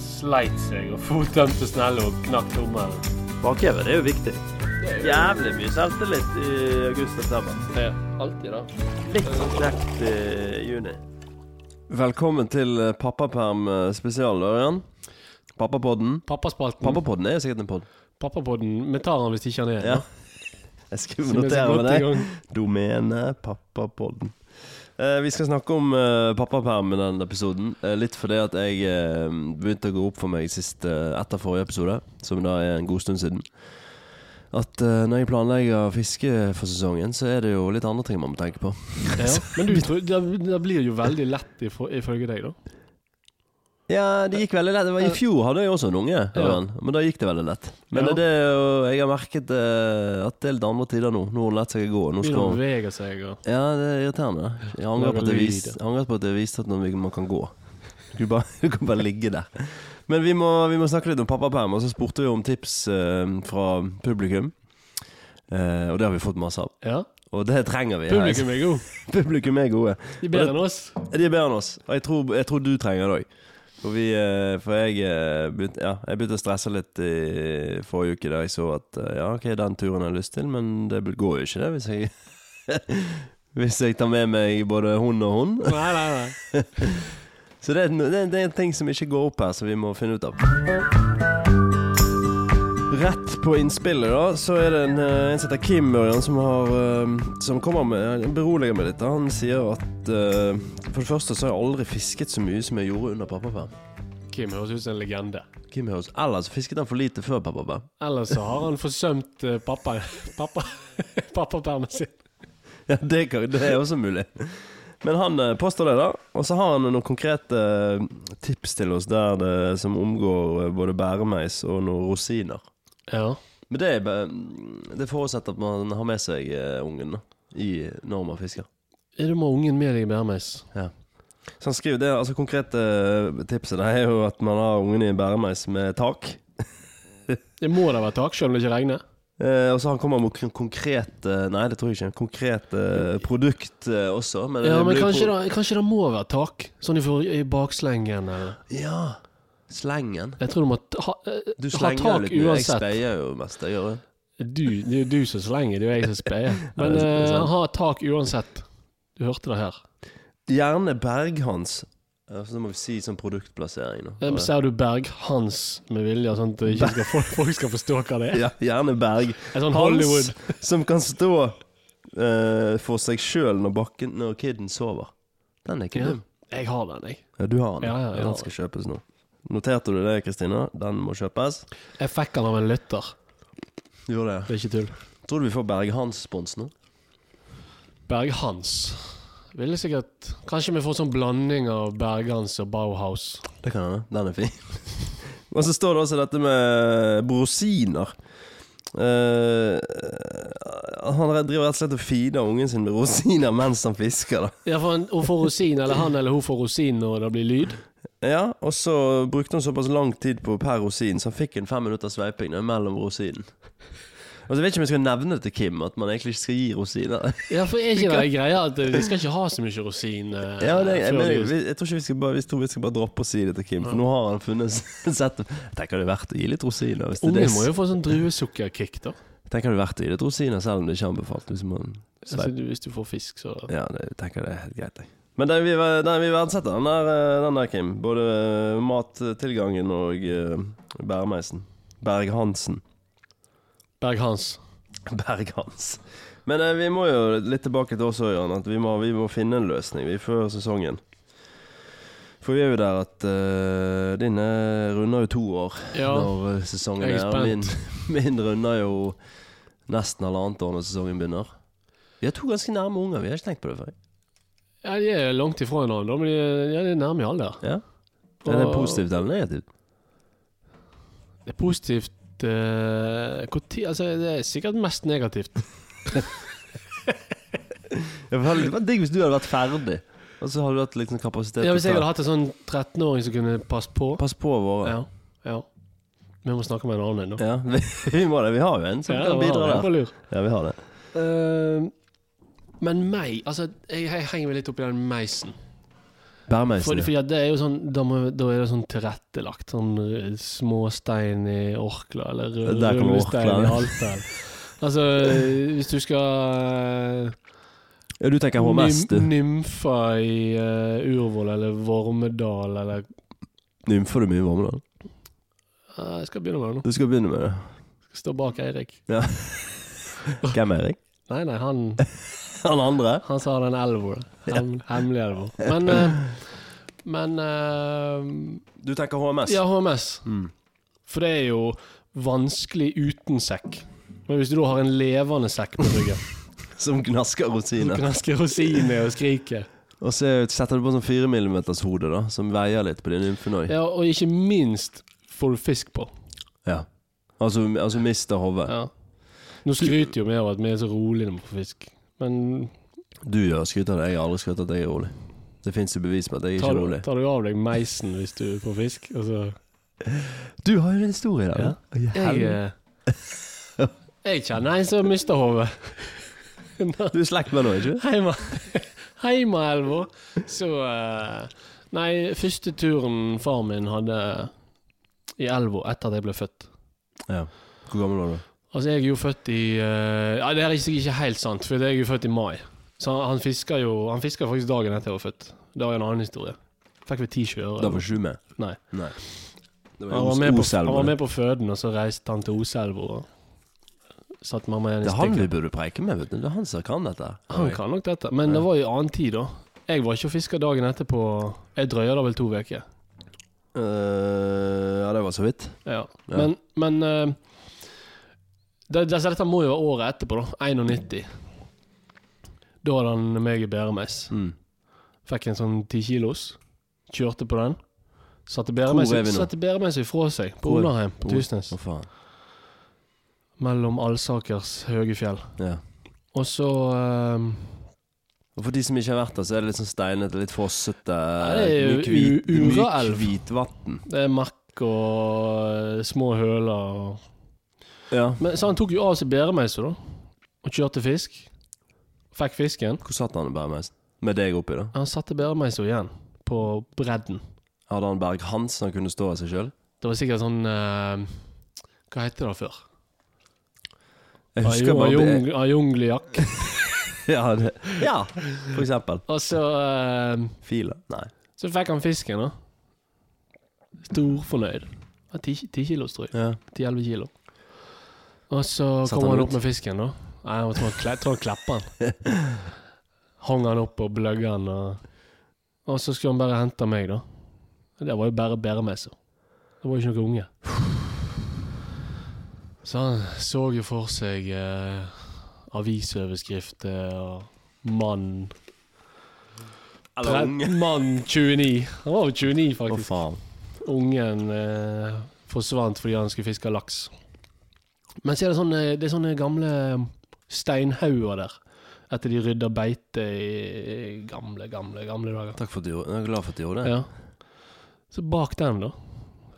sleit seg, og fottømte snella og knakk tommelen. Bakhevet er jo viktig. Jævlig mye selvtillit i august-september. Ja, alltid, da. Litt sånn kjekt i juni. Velkommen til eh, pappaperm eh, spesial, Ørjan. Pappapodden. Pappaspalten. Pappapodden er jo sikkert en podd. Pappapodden. Vi tar han hvis ikke han er Ja. Jeg skulle Så vi er så notere godt meg i det. gang. Domene pappapodden. Eh, vi skal snakke om eh, pappaperm i denne episoden. Eh, litt fordi at jeg eh, begynte å gå opp for meg sist, eh, etter forrige episode, som da er en god stund siden. At eh, når jeg planlegger fiske for sesongen, så er det jo litt andre ting man må tenke på. Ja. Men du, tror- det, det blir jo veldig lett ifå- ifølge deg, da. Ja, det gikk veldig lett. Det var, I fjor hadde jeg også en unge, Ørjan, men da gikk det veldig lett. Men Ja. det er jo, jeg har merket eh, at det er litt andre tider nå. Nå har hun lært seg å gå. Nå Begynner skal å hun bevege seg og Ja, det er irriterende. Jeg angrer på at jeg viste, jeg angrer på at, jeg viste at man man kan gå. Du, bare, du kan bare ligge der. Men vi må, vi må snakke litt om pappaperm, og så spurte vi om tips eh, fra publikum. Eh, og det har vi fått masse av. Ja. Og det trenger vi. her. Publikum er god. publikum er gode. De er bedre enn oss. De er bedre enn oss. Og jeg tror, jeg tror du trenger det òg. For, vi, eh, for jeg, eh, begynte, ja, jeg begynte å stresse litt i forrige uke da jeg så at eh, ja, ok, den turen har jeg lyst til, men det går jo ikke det hvis jeg Hvis jeg tar med meg både hund og hund. Nei, nei, nei. Så det er, no- det, er- det er en ting som ikke går opp her, som vi må finne ut av. Rett på innspillet, da, så er det en, eh, en som heter Kim Ørjan, som har eh, Som kommer med Han beroliger meg litt. da. Han sier at eh, For det første så har jeg aldri fisket så mye som jeg gjorde under pappaperm. Kim høres ut som en legende. Kim høres Ellers fisket han for lite før pappaperm. Ellers så har han forsømt eh, pappa pappa pappapermen sin. Ja, det, kan, det er også mulig. Men han eh, påstår det, da. Og så har han noen konkrete eh, tips til oss der det, som omgår eh, både bæremeis og noen rosiner. Ja. Men det, er bare- mm, det forutsetter at man har med seg eh, ungen da, i, når man fisker. Du må ha ungen med deg i bærmeis. Så han skriver det, altså Konkrete tipset det er jo at man har ungen i en bæremeis med tak. Det må da være tak, selv om det ikke regner. Eh, og så han kommer med kon- konkrete Nei, det tror jeg ikke. Konkrete produkt eh, også. Men Ja, det men blir kanskje, pro- da, kanskje det må være tak? Sånn i, for, i bakslengen eller Ja. Slengen. Jeg tror du må ta, ha, eh, Du ha slenger jo tak litt mye. Jeg uansett. speier jo mest. Jeg gjør det. Du, det er jo du som slenger, det er jo jeg som speier. Ja, Men det er sant. eh, ha tak uansett. Du hørte det her. Gjerne Berghans. Ja, Så må vi si sånn produktplassering, da. Um, ser du Berg-Hans med vilje, sånn at det ikke skal, folk, folk skal forstå hva det er? Ja, gjerne Berg. En sånn Hans Hollywood som kan stå eh, for seg sjøl når, bakken- når kiden sover. Den er ikke Ja. dum. Jeg har den, jeg. Ja, du har den. Ja, ja, jeg har den skal kjøpes nå. Noterte du det, Kristina? Den må kjøpes. Jeg fikk den av en lytter. Du gjorde det. Det er ikke tull. Tror du vi får Berg-Hans-spons nå? Berg-Hans. Ville sikkert Kanskje vi får sånn blanding av Berg-Hans og Bauhaus. Det kan hende. Den er fin. Og så står det også dette med rosiner. Eh, han driver rett og slett og feeder ungen sin med rosiner mens han fisker. da Ja, for han, hun får rosin, eller han eller hun får rosin når det blir lyd. Ja, og så brukte han såpass lang tid på per rosin, så han fikk en fem minutter sveiping da, mellom rosinen. Og så vet jeg ikke om jeg skal nevne til Kim at man egentlig ikke skal gi rosiner. Ja, for er ikke det greia at eh, de skal ikke ha så mye rosin? eh, Ja, det, jeg, før mener, jul? vi, jeg tror ikke vi skal bare, vi tror vi skal bare droppe å si det til Kim, for nå har han funnet sett Jeg Tenker det er verdt å gi litt rosiner. Hvis det er Ungen det. må jo få sånn druesukkerkick, da. Tenker det er verdt å gi litt rosiner selv om det ikke er anbefalt. Hvis man Altså, sveiper. du- hvis du får fisk, så Ja, det, jeg tenker det er helt greit, jeg. Men den, vi, den, vi verdsetter den der, eh, den der, Kim. Både eh, mattilgangen og eh, bæremeisen. Berg-Hansen. Berg-Hans. Berghans. Men eh, vi må jo litt tilbake til oss òg, Jørn. At vi må, vi må finne en løsning vi før sesongen. For vi er jo der at eh, din eh, runder jo to år Ja. når eh, sesongen Jeg er er. og Min, min runder jo nesten halvannet år når sesongen begynner. Vi har to ganske nærme unger. Vi har ikke tenkt på det før. Ja, de er langt ifra hverandre, da, men de er, ja, de er nærme i alder. Ja. Er det positivt eller negativt? Det er positivt eh, hvor ti- altså, Det er sikkert mest negativt. Det var det var digg hvis du hadde vært ferdig, og så hadde du hatt liksom kapasitet Ja, Hvis jeg ta- hadde hatt en sånn 13-åring som kunne passe på Pass på våre. Ja. ja. Vi må snakke med en annen nå. Ja, vi, vi må det. Vi har jo en som Ja, kan det var- bidra det var der. lur. Ja, vi har det. Eh, men meg Altså, jeg, jeg henger meg litt opp i den meisen. For, Bærmeisen. fordi at det er jo sånn, da, må, da er det sånn tilrettelagt. Sånn eh, småstein i Orkla, eller rull- Der kommer rullestein Orkla. i Alta. Altså, eh, hvis du skal eh, Ja, du tenker HMS, du. nym, Nymfa i eh, Urvoll eller Vormedal eller Nymfer du mye varme, da? Eh, Jeg skal begynne med det nå. Du skal begynne med det. Skal stå bak Eirik. Hvem er Erik? Nei, nei, han, Han andre? han sa den elvor. Hem, hemmelig elvor. Men, eh, men eh, Du tenker HMS? Ja, HMS. Mm. For det er jo vanskelig uten sekk. Men hvis du da har en levende sekk på ryggen, Som gnasker så rosiner. kan han skrive rosiner og skrike. Og så setter du på sånn 4 mm hode, da, som veier litt på din nymfenoi. Ja, og ikke minst får du fisk på. Ja. Altså, altså mister hodet. Ja. Nå skryter jo vi av at vi er så rolige når vi får fisk, men Du gjør skryt av det. Jeg har aldri skrytt av at jeg er rolig. Det fins jo bevis på at jeg er tar ikke du, rolig. tar du av deg meisen hvis du får fisk? Altså, Du har jo en historie der. Ja. jeg, eh, jeg kjenner en som mister hodet. Du er i slekt med nå, ikke Heima, Heimaelva. Så eh, Nei, første turen far min hadde i elva etter at jeg ble født. Ja. Hvor gammel var du? Altså, jeg er jo født i eh, Ja, det er ikke, ikke helt sant, for jeg er jo født i mai. Så han, han fisker jo Han fisker faktisk dagen etter jeg var født. Det var jo en annen historie. Fikk vi ti Da var sjøøre. ikke du med? Nei. Nei. Det Han var, med på, han var med på føden, og så reiste han til Oselva og satte mamma igjen i Det er han stikken. vi burde preike med, vet du. Det er han som kan dette. Han kan nok dette, men det var i annen tid, da. Jeg var ikke og fiska dagen etterpå. Jeg drøya da vel to uker. Øh, Eh, ja, det var så vidt. Ja. Men, men eh, det, det, så Dette må jo være året etterpå, da. 91. Da hadde han meg i bæremeis. Mm. Fikk en sånn ti kilos. Kjørte på den. Satte Hvor er vi nå? bæremeis fra seg på Hvor? Onarheim på Hvor? Tysnes. Å, faen. Mellom Alsakers høye fjell. Ja. Og så eh, Og for de som ikke har vært der, så er det litt sånn steinete, litt fossete. det er jo mye hvit- u- mye Uraelv. hvitvann. Det er makk og eh, små høler og Ja. Men, så han tok jo av seg bæremeisa, da. Og kjørte fisk. Fikk fisken. Hvor satt han og bæremeisen? Med deg oppi, da? Han satte bæremeisa igjen på bredden. Hadde han Berg Hansen han kunne stå av seg sjøl? Det var sikkert sånn eh, Hva het det da før? Jeg husker bare det. Ajongliakk. Ja, det. ja, for eksempel. Og så eh, Fila. Nei. Så fikk han fisken, da. Storfornøyd. Det var Ti ti kilos, tror jeg. Ja. Ti-elleve kilo. Og så Satte kom han han ut? opp med fisken, da. Nei, jeg tror han, kle- tror han klappa han. Hang han opp og bløgga han. Og, og så skulle han bare hente meg, da. Det var jo bare bæremesse. Det var jo ikke noen unge. Så han så jo for seg eh, avisoverskrifter og mann Eller Tre- unge. Mann 29. Han var jo 29, Å, faktisk. faen. Ungen eh, forsvant fordi han skulle fiske laks. Men så er det sånne, det er sånne gamle steinhauger der. Etter de rydda beite i gamle, gamle gamle dager. Takk for at du gjorde Jeg er glad for at du gjorde det. Ja. Så bak den, da.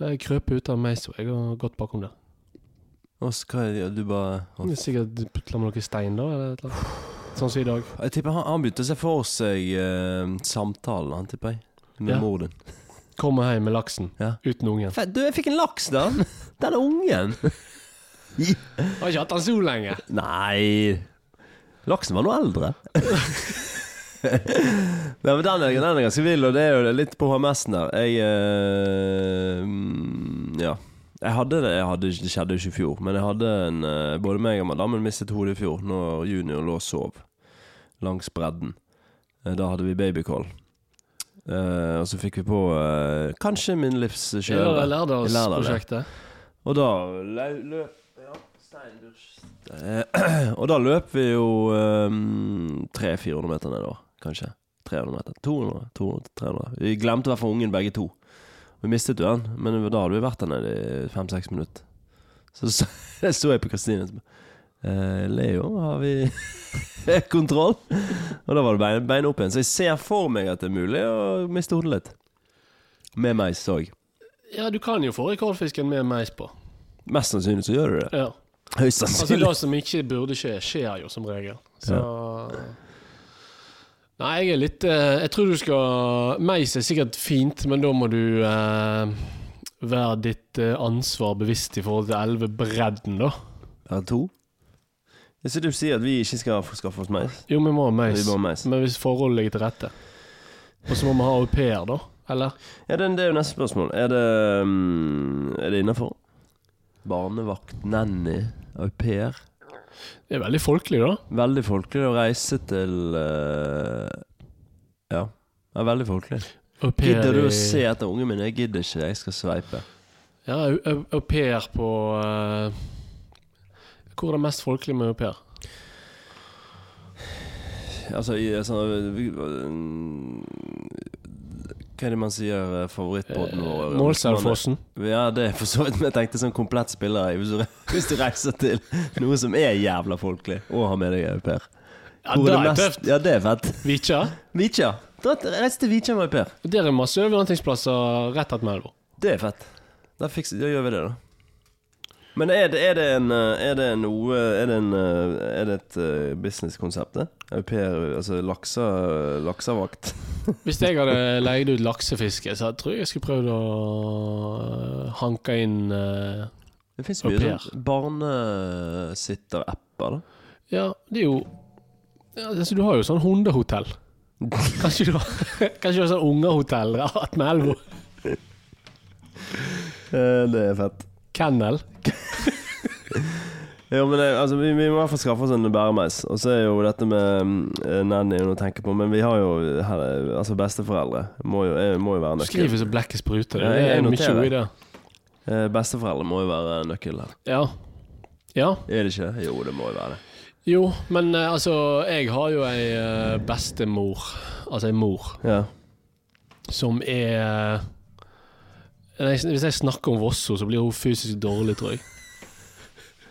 Jeg krøp ut av meisa. Jeg har gått bakom der. Og så hva er det du bare Det er Sikkert putla med noe stein, da. Eller et eller annet. Sånn som i dag. Jeg tipper han, han begynte å se for seg eh, samtalen, han tipper jeg. Med Ja. mor din. Kommer hjem med laksen. Ja. Uten ungen. Fett, Du, jeg fikk en laks, da! Den er ungen! Har ikke hatt den så lenge. Nei Laksen var nå eldre. Nei, men den er, den er ganske vill, og det er jo litt på HMS-en der. Jeg eh, mm, Ja. Jeg hadde det, jeg hadde, det skjedde jo ikke i fjor, men jeg hadde en eh, Både meg og madammen mistet hodet i fjor når junior lå og sov langs bredden. Eh, Da hadde vi babycall. Eh, og så fikk vi på eh, kanskje min livs Er det kjøre. Lærdalsprosjektet? Og da lø- løp Ja, steinbursj. Eh, Og da løp vi jo ehm, 300-400 meter nedover, kanskje. 300 meter. 200, 200, 300. Vi glemte hver for ungen begge to. Vi mistet jo den, men da hadde vi vært der nede i fem-seks minutter. Så så- jeg sto jeg på Kristine som eh, Leo, har vi kontroll? Og da var det bein, bein opp igjen. Så jeg ser for meg at det er mulig å miste hodet litt. Med meis òg. Ja, du kan jo få rekordfisken med meis på. Mest sannsynlig så gjør du det. Ja. Høyst Altså sannsynlig. Det som ikke burde skje, skjer jo som regel. Så Nei, jeg er litt eh, Jeg tror du skal Meis er sikkert fint, men da må du eh, være ditt eh, ansvar bevisst i forhold til elvebredden, da. Ja, to? Jeg synes du sier at vi ikke skal få- skaffe oss meis. Jo, vi må ha meis. Vi må ha meis. Men hvis forholdet ligger til rette. Og så må vi ha au pair, da. Eller? Ja, det, det er jo neste spørsmål. Er det, mm, er det innafor? Barnevakt, nanny, au pair. Det er veldig folkelig, da. Veldig folkelig å reise til eh, Ja. Det er veldig folkelig. Au pair Gidder du i- å se etter ungen min? Jeg gidder ikke, jeg skal sveipe. Ja, au- au au pair på eh, Hvor er det mest folkelig med au pair? Altså, i, sånn, vi- mm, Hva er det man sier eh, favorittpodden vår? Målselvfossen. Ja, det er for så vidt men Jeg tenkte sånn komplett spiller jeg, hvis du, hvis du reiser til noe som er jævla folkelig, og har med deg au pair. Ja, Hvor det er mest- tøft. Ja, det er fett. Vikja. Vitja. Dra- Reis til Vitja med au pair. Der er masse overnattingsplasser rett attmed elva. Det er fett. Da, fikser, da gjør vi det, da. Men er det, er det en eh, Er det noe Er det, en, eh, er det et eh, businesskonsept, det? Au pair, altså laksa, laksavakt? Hvis jeg hadde leid ut laksefiske, så tror jeg jeg skulle prøvd å øh, hanke inn øh, Det fins Au mye pair. sånn barnesitter-apper, da. Ja, det er jo ja, altså, Du har jo sånn hundehotell. Kanskje du har, kanskje du har sånn ungehotell rett med elva? Eh, det er fett. Kennel. Jo, men det, altså, vi, vi må i hvert fall skaffe oss en bæremeis. Og så er jo dette med mm, nanny noe å tenke på, men vi har jo her, Altså, besteforeldre må jo, er, må jo være nøkkel. Skriver så blekket spruter. Ja, Det jeg er mye noterer. ord i det. Eh, Besteforeldre må jo være nøkkel her. Ja. Ja. Er det ikke det? Jo, det må jo være det. Jo, men øh, altså Jeg har jo ei øh, bestemor, altså ei mor, Ja. som er eh, Nei, Hvis jeg snakker om Vosso, så blir hun fysisk dårlig, tror jeg.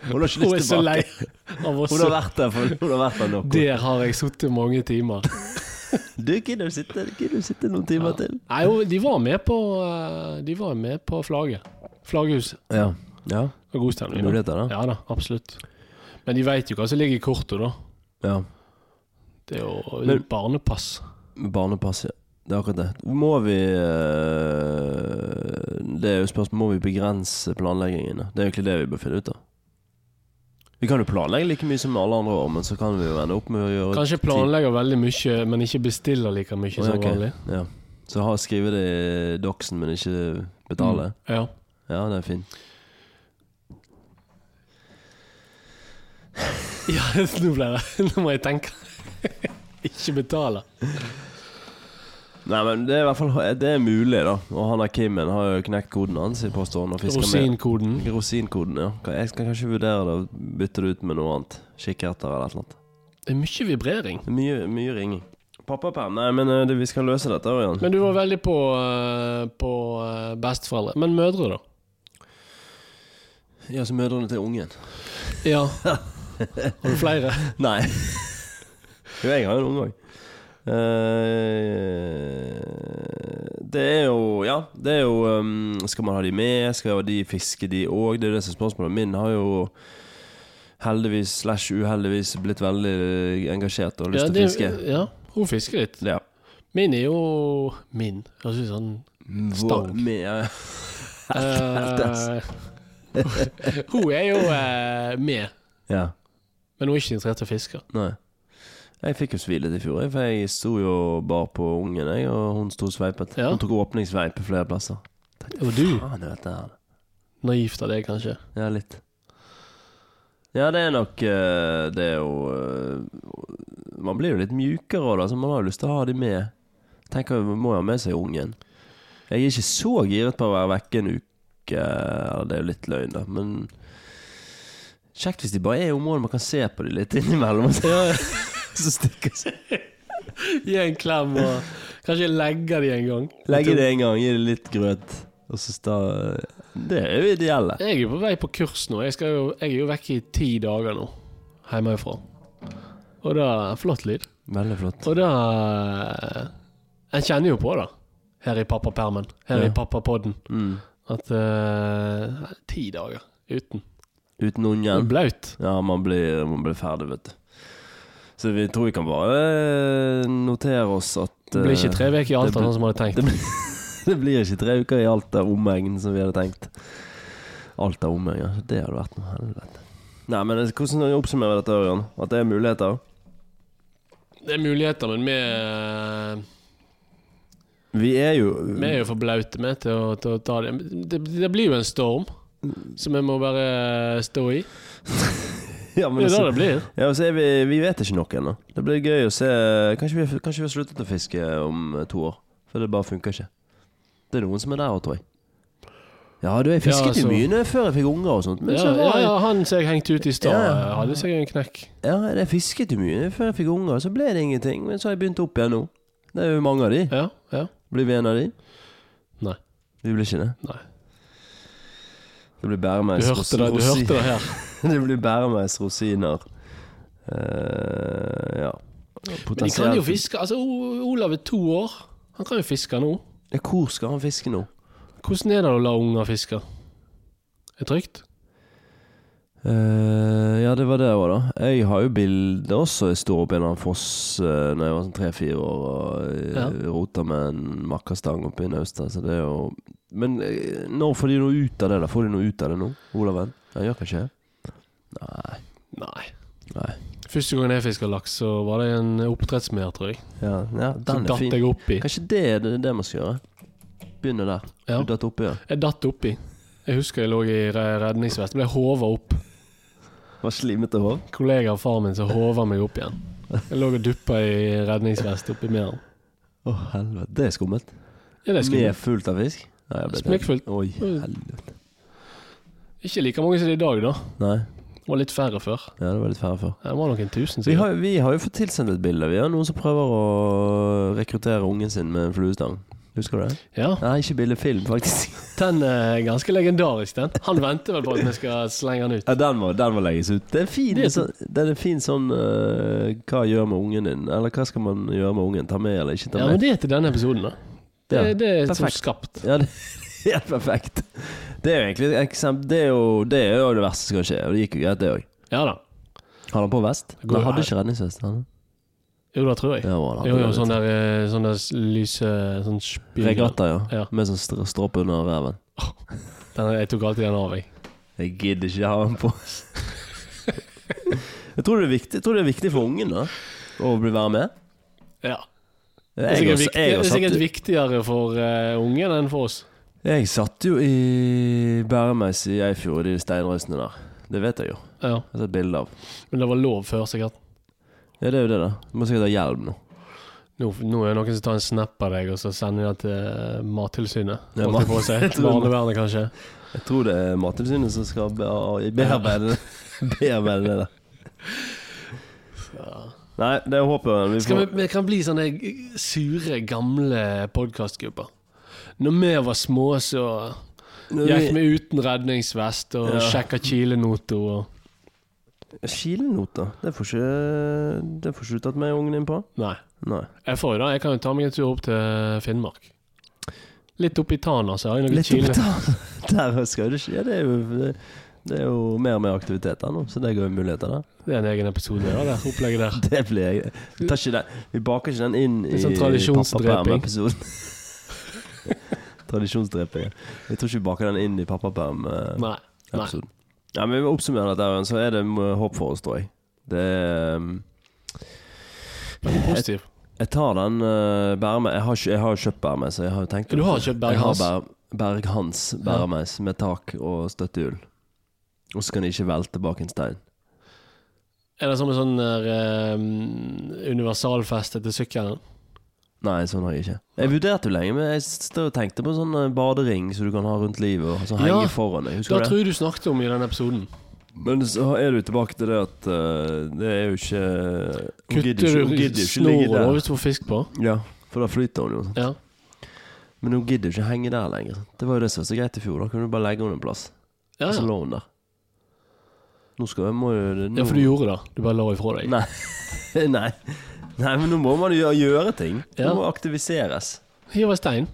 Hun har ikke Hun er lyst så lei tilbake. av Hun har Vosso. vært der for Hun har vært der nok. Der har jeg sittet mange timer. Du gidder du sitte, gidder du sitte noen timer til? Nei, jo, de var med på eh, De var med på flagget. Flaggerhuset. Ja. ja. Det var god stemning. da. Muligheter, da. Ja da, absolutt. Men de veit jo hva som ligger i kortet, da. Ja. Det er jo Men- barnepass. Barnepass, ja. Det er akkurat det. Må vi eh, Det er jo spørsmål Må vi begrense planleggingen? da? Det er egentlig det vi bør finne ut av. Vi kan jo planlegge like mye som alle andre år, men så kan vi jo ende opp med å gjøre Kanskje planlegger veldig mye, men ikke bestiller like mye som Ja, ok. vanlig. ja. Så ha, skrive det i doksen, men ikke betale. Mm. Ja. Ja, det er fint. ja, nå ble det Nå må jeg tenke. ikke betale. Nei, men det er i hvert fall Det er mulig, da. Og han der Kimmen har jo knekt koden hans, påstår han, og fisker med Rosinkoden. Rosinkoden, ja. Kan- Jeg skal kanskje vurdere det og bytte det ut med noe annet. Kikkerter eller et eller annet. Det er mye vibrering. Mye, mye ringing. Pappaperm. Nei, men eh, det, vi skal løse dette, Ørjan. Men du var veldig på, eh, på eh, besteforeldre. Men mødre, da? Ja, så mødrene til ungen. Ja. Har du flere? Nei. jo, jeg har jo en unge òg. Eh, det er jo Ja, det er jo ehm, Skal man ha de med? Skal de fiske, de òg? Det er det som er spørsmålet. Min har jo heldigvis slash uheldigvis blitt veldig eh, engasjert og lyst til å fiske. Ja, hun fisker litt. Ja. Min er jo min. Høres ut sånn Stang. Vår- Med, ja. eh, Hun er jo eh, med, ja. men hun er ikke interessert i å fiske. Nei. Jeg fikk jo svi litt i fjor, jeg, for jeg sto jo bare på ungen, jeg, og hun sto og sveipet. Ja. Mm. Hun tok åpningssveip i flere plasser. Og du, Faen, jeg vet det her. naivt av deg kanskje. Ja, litt. Ja, det er nok eh, Det er jo eh, Man blir jo litt mjukere òg, da, så man har jo lyst til å ha de med. Tenker Man må jo ha med seg ungen. Jeg er ikke så giret på å være vekke en uke. Eller det er jo litt løgn, da, men Kjekt hvis de bare er i området man kan se på de litt innimellom, og Ja, så stikker de. Gi en klem og kanskje legge de en gang. Legge det en gang, gi det litt grøt. Og så sta... Det er jo ideelle. Jeg er jo på vei på kurs nå. Jeg, skal jo, jeg er jo vekk i ti dager nå, hjemmefra. Og da Flott lyd. Veldig flott. Og da eh, Jeg kjenner jo på det her i pappapermen, her Ja. i pappapodden, Mm. at eh, Ti dager uten. Uten Det er ungen. Blaut. Ja, man blir, man blir ferdig, vet du. Så vi tror vi kan bare eh, notere oss at Det blir ikke eh, tre uker i det Alta, blir- sånn som jeg hadde tenkt. Det blir, det blir ikke tre uker i Alta omegn som vi hadde tenkt. Alta omegn, ja. Det hadde vært noe helvete. Nei, men eh, hvordan oppsummerer dette, Ørjan? At det er muligheter? Det er muligheter, men vi er, Vi er jo vi er jo for blaute med til å, til å ta det. det. Det blir jo en storm som jeg må bare stå i. Ja, Det men er det så, det blir. ja, så er vi, vi vet ikke noe ennå. Det blir gøy å se Kanskje vi, kanskje vi har sluttet å fiske om eh, to år? For det bare funker ikke. Det er noen som er der òg, tror jeg. Ja, du, Ja, jeg fisket altså- jo mye når jeg- før jeg fikk unger og sånt. Men Ja, så ja, var jeg, ja, han som jeg hengte ut i stad, eh, Ja. hadde seg en knekk. ja, jeg fisket jo mye før jeg fikk unger, så ble det ingenting. Men så har jeg begynt opp igjen nå. Det er jo mange av de. Ja, ja. Blir vi en av de? Nei. Vi blir ikke det? Nei. Det blir Du bæremeis, hørte det, du rosi- hørte det her. det blir bæremeis, rosiner Eh, Ja. Men de kan jo fiske. Altså, O- Olav er to år. Han kan jo fiske nå. Ja, hvor skal han fiske nå? Hvordan er det å la unger fiske? Er det trygt? Eh, ja, det var det òg, da. Jeg har jo bilder også. Jeg sto opp i en eller annen foss uh, Når jeg var sånn tre-fire år og Ja. uh, rota med en makkastang oppe i Nausta. Så det er jo Men eh, når får de noe ut av det? da? Får de noe ut av det nå, Olaven? Han gjør kanskje det? Nei. Nei. Nei. Første gangen jeg fiska laks, så var det en oppdrettsmer, tror jeg. Ja, ja Så den er datt fin. jeg oppi. Kanskje det er det, det man skal gjøre? Begynne der. Ja. Du datt oppi, ja. Jeg datt oppi. Jeg husker jeg lå i re- redningsvest. Ble hova opp. Var slimete hår? Kollega av faren min som hova meg opp igjen. Jeg lå og duppa i redningsvest oppi merden. Å, helvete. Det er skummelt. Ja, det er Med skummelt. fullt av fisk? Nei, jeg ble helt- Smekkfullt. Oi, helvete. Ikke like mange som det er i dag, da. Nei, Det var litt færre før. ja, det var litt færre før. Ja, Det var nok en tusen. Vi sikkert. har, vi har jo fått tilsendt et bilde. Vi har noen som prøver å rekruttere ungen sin med en fluestang. Husker du det? Ja. Nei, ikke bilde, film, faktisk. Den eh, er ganske legendarisk, den. Han venter vel på at vi skal slenge den ut. Ja, den må, den må legges ut. Det er fin, Det er- sånn- den er fin sånn eh, Hva gjør med ungen din? Eller hva skal man gjøre med ungen? Ta med eller ikke ta Ja, med? men det er til denne episoden, da. Det, Ja, det er som perfekt. skapt. Ja, det er helt perfekt. Det er jo egentlig et eksempel Det er jo det, er jo det verste som kan skje, og det gikk jo greit, det òg. Ja da. Hadde han på vest? Det går jo Han her. hadde ikke redningsvest. Han. Jo, det tror jeg. Ja, han hadde Jo, jo, det, sånn vet der, eh, sånn der s- lyse sånn du. spyr- Regatta, ja. Ja. Med sånn str- stropp under reven. Den, jeg tok alltid den av, jeg. Jeg gidder ikke ha den på. jeg, tror det er viktig, jeg tror det er viktig for ungen da å bli være med. Ja. Det er Jeg, sikkert, også- viktig, jeg, det er også sikkert satt, viktigere for eh, ungen enn for oss. jeg satt jo i Bæremeis i Eifjord, i de steinrøysene der. Det vet jeg jo. Ja. Jeg har sett bilde av. Men det var lov før, sikkert. Ja, det er jo det, da. Du må sikkert ha hjelm nå. Nå, nå er det noen som tar en snap av deg, og så sender de den til eh, Mattilsynet. Ja, Holdt jeg på å si. jeg tror- Barnevernet, kanskje. Jeg tror det er Mattilsynet som skal be- bearbeide bearbeide det der. Nei, det er håpet. Vi Skal vi, får, vi kan bli sånne sure, gamle podkastgrupper. Når vi var små, så gikk vi uten redningsvest og Ja. sjekka kilenoto. Og... Kilenoter? Det får ikke Det får ikke du tatt med ungen din på? Nei. Nei. Jeg får jo det. Jeg kan jo ta meg en tur opp til Finnmark. Litt oppi Tana, så har jeg noen Litt kile. oppetan. Der skal det skje. Det er jo, det, det er jo mer og mer aktiviteter nå, så det går jo muligheter der. Det er en egen episode, da, det opplegget der. Det blir jeg vi tar ikke den, Vi baker ikke den inn i Det er sånn tradisjonsdreping. pappaperm-episoden. Tradisjonsdreping. ja. Jeg tror ikke vi baker den inn i pappaperm-episoden. Nei. Nei. Ja, men vi oppsummerer dette, Ørjan, så er det eh, håp for oss, tror jeg. Det er, um, Veldig positiv. Jeg tar den uh, bærme. Jeg har, ikke- jeg har kjøpt bæremeis. Jeg har tenkt Du har kjøpt Jeg har Berghans. bær, Berghans bæremeis med tak og støttehjul. Og så kan de ikke velte bak en stein. Er det som en sånn der, eh, universalfeste til sykkelen? Nei, sånn har jeg ikke. Jeg vurderte jo lenge, men jeg stod og tenkte på en sånn eh, badering som du kan ha rundt livet og som Ja, henger foran deg. Det Husker du det? tror jeg du snakket om i den episoden. Men så er du tilbake til det at eh, det er jo ikke Hun gidder Kutter ikke- hun du gidder jo ikke ligge snoren da, der. hvis du får fisk på? Ja, for da flyter hun jo. Ja. Men hun gidder jo ikke henge der lenger. Det var jo det som var så greit i fjor. Da kunne du bare legge henne en plass. Ja, Og så ja. lå hun der. Nå skal jeg, må jo det- nå, ja, for du gjorde det. Du bare la ifra deg. Nei. Nei. Nei, men nå må man jo gjøre ting. Ja. Nå må aktiviseres. Hiv en stein.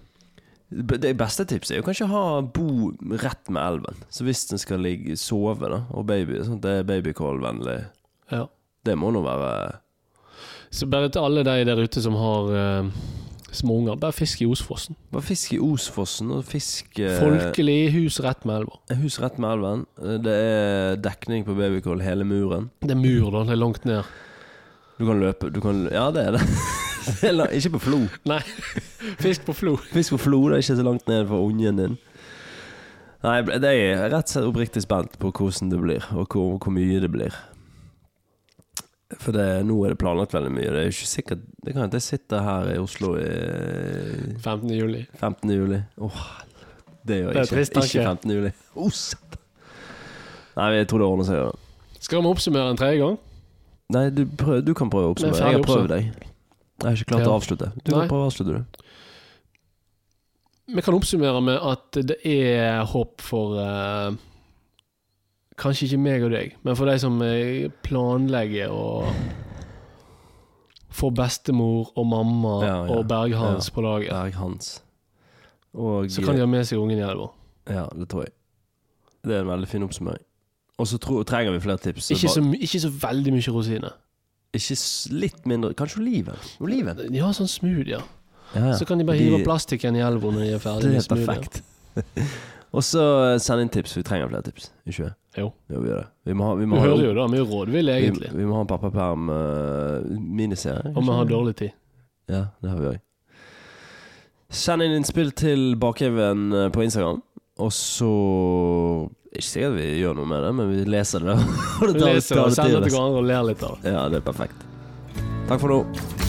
B- Det beste tipset er jo kanskje å ha bo rett med elven. Så hvis den skal ligge, sove da, og baby, sånn at det er babycall-vennlig, Ja. det må nå være Så bare til alle de der ute som har eh, små unger, bare fisk i Osfossen. Bare fisk i Osfossen og fisk eh, Folkelig hus rett med elva. Hus rett med elven. Eh, Det er dekning på babycall hele muren. Det er mur, da. Det er langt ned. Du kan løpe du kan, Ja, det er det. Det er la- ikke på Flo. Fisk på flo. Fisk på Flo det er ikke så langt ned for ungen din. Nei, jeg ble- det er jeg rett og slett oppriktig spent på hvordan det blir, og hvor, hvor mye det blir. For det, nå er det planlagt veldig mye. Det er jo ikke sikkert Det kan hende jeg sitter her i Oslo i 15. juli. 15. juli. Åh, det gjør Det er jeg ikke. trist tanke. ikke 15. juli. Oh, satan. Nei, jeg tror det ordner seg. Ja. Skal vi oppsummere en tredje gang? Nei, du, prøv, du kan Men prøve å oppsummere. ferdig Jeg har prøvd oppsum- deg. Jeg har ikke klart Ja. å avslutte. Du Nei. kan prøve å avslutte, du. Vi kan oppsummere med at det er håp for eh, Kanskje ikke meg og deg, men for de som eh, planlegger å få bestemor og mamma Ja, ja. og Berghans på laget. Berg Hans. Og Så kan de ha med seg ungen i elva. Ja, det tror jeg. Det er en veldig fin oppsummering. Og så tror- trenger vi flere tips. Ikke bare- så, my- ikke så veldig mye rosiner. ikke s- litt mindre Kanskje oliven? Oliven. De har sånn smoothier. Ja, ja. Så kan de bare De- hive plastikken i elva når de er ferdig Det med er smoothien. perfekt. og så eh, send inn tips. Vi trenger flere tips. Ikke det? Jo. Jo, vi gjør det. Vi må ha, vi Du må ha hører jo da mye rådvill, egentlig. Vi, vi må ha en pappaperm uh, miniserie. Og vi har kanskje? dårlig tid. Ja, det har vi òg. Send inn innspill til Bakhaven eh, på Instagram. Og så Ikke sikkert vi gjør noe med det, men vi leser det. og det tar- Leser tar og det sender til til oss. hverandre og ler litt av det. Ja, det er perfekt. Takk for nå.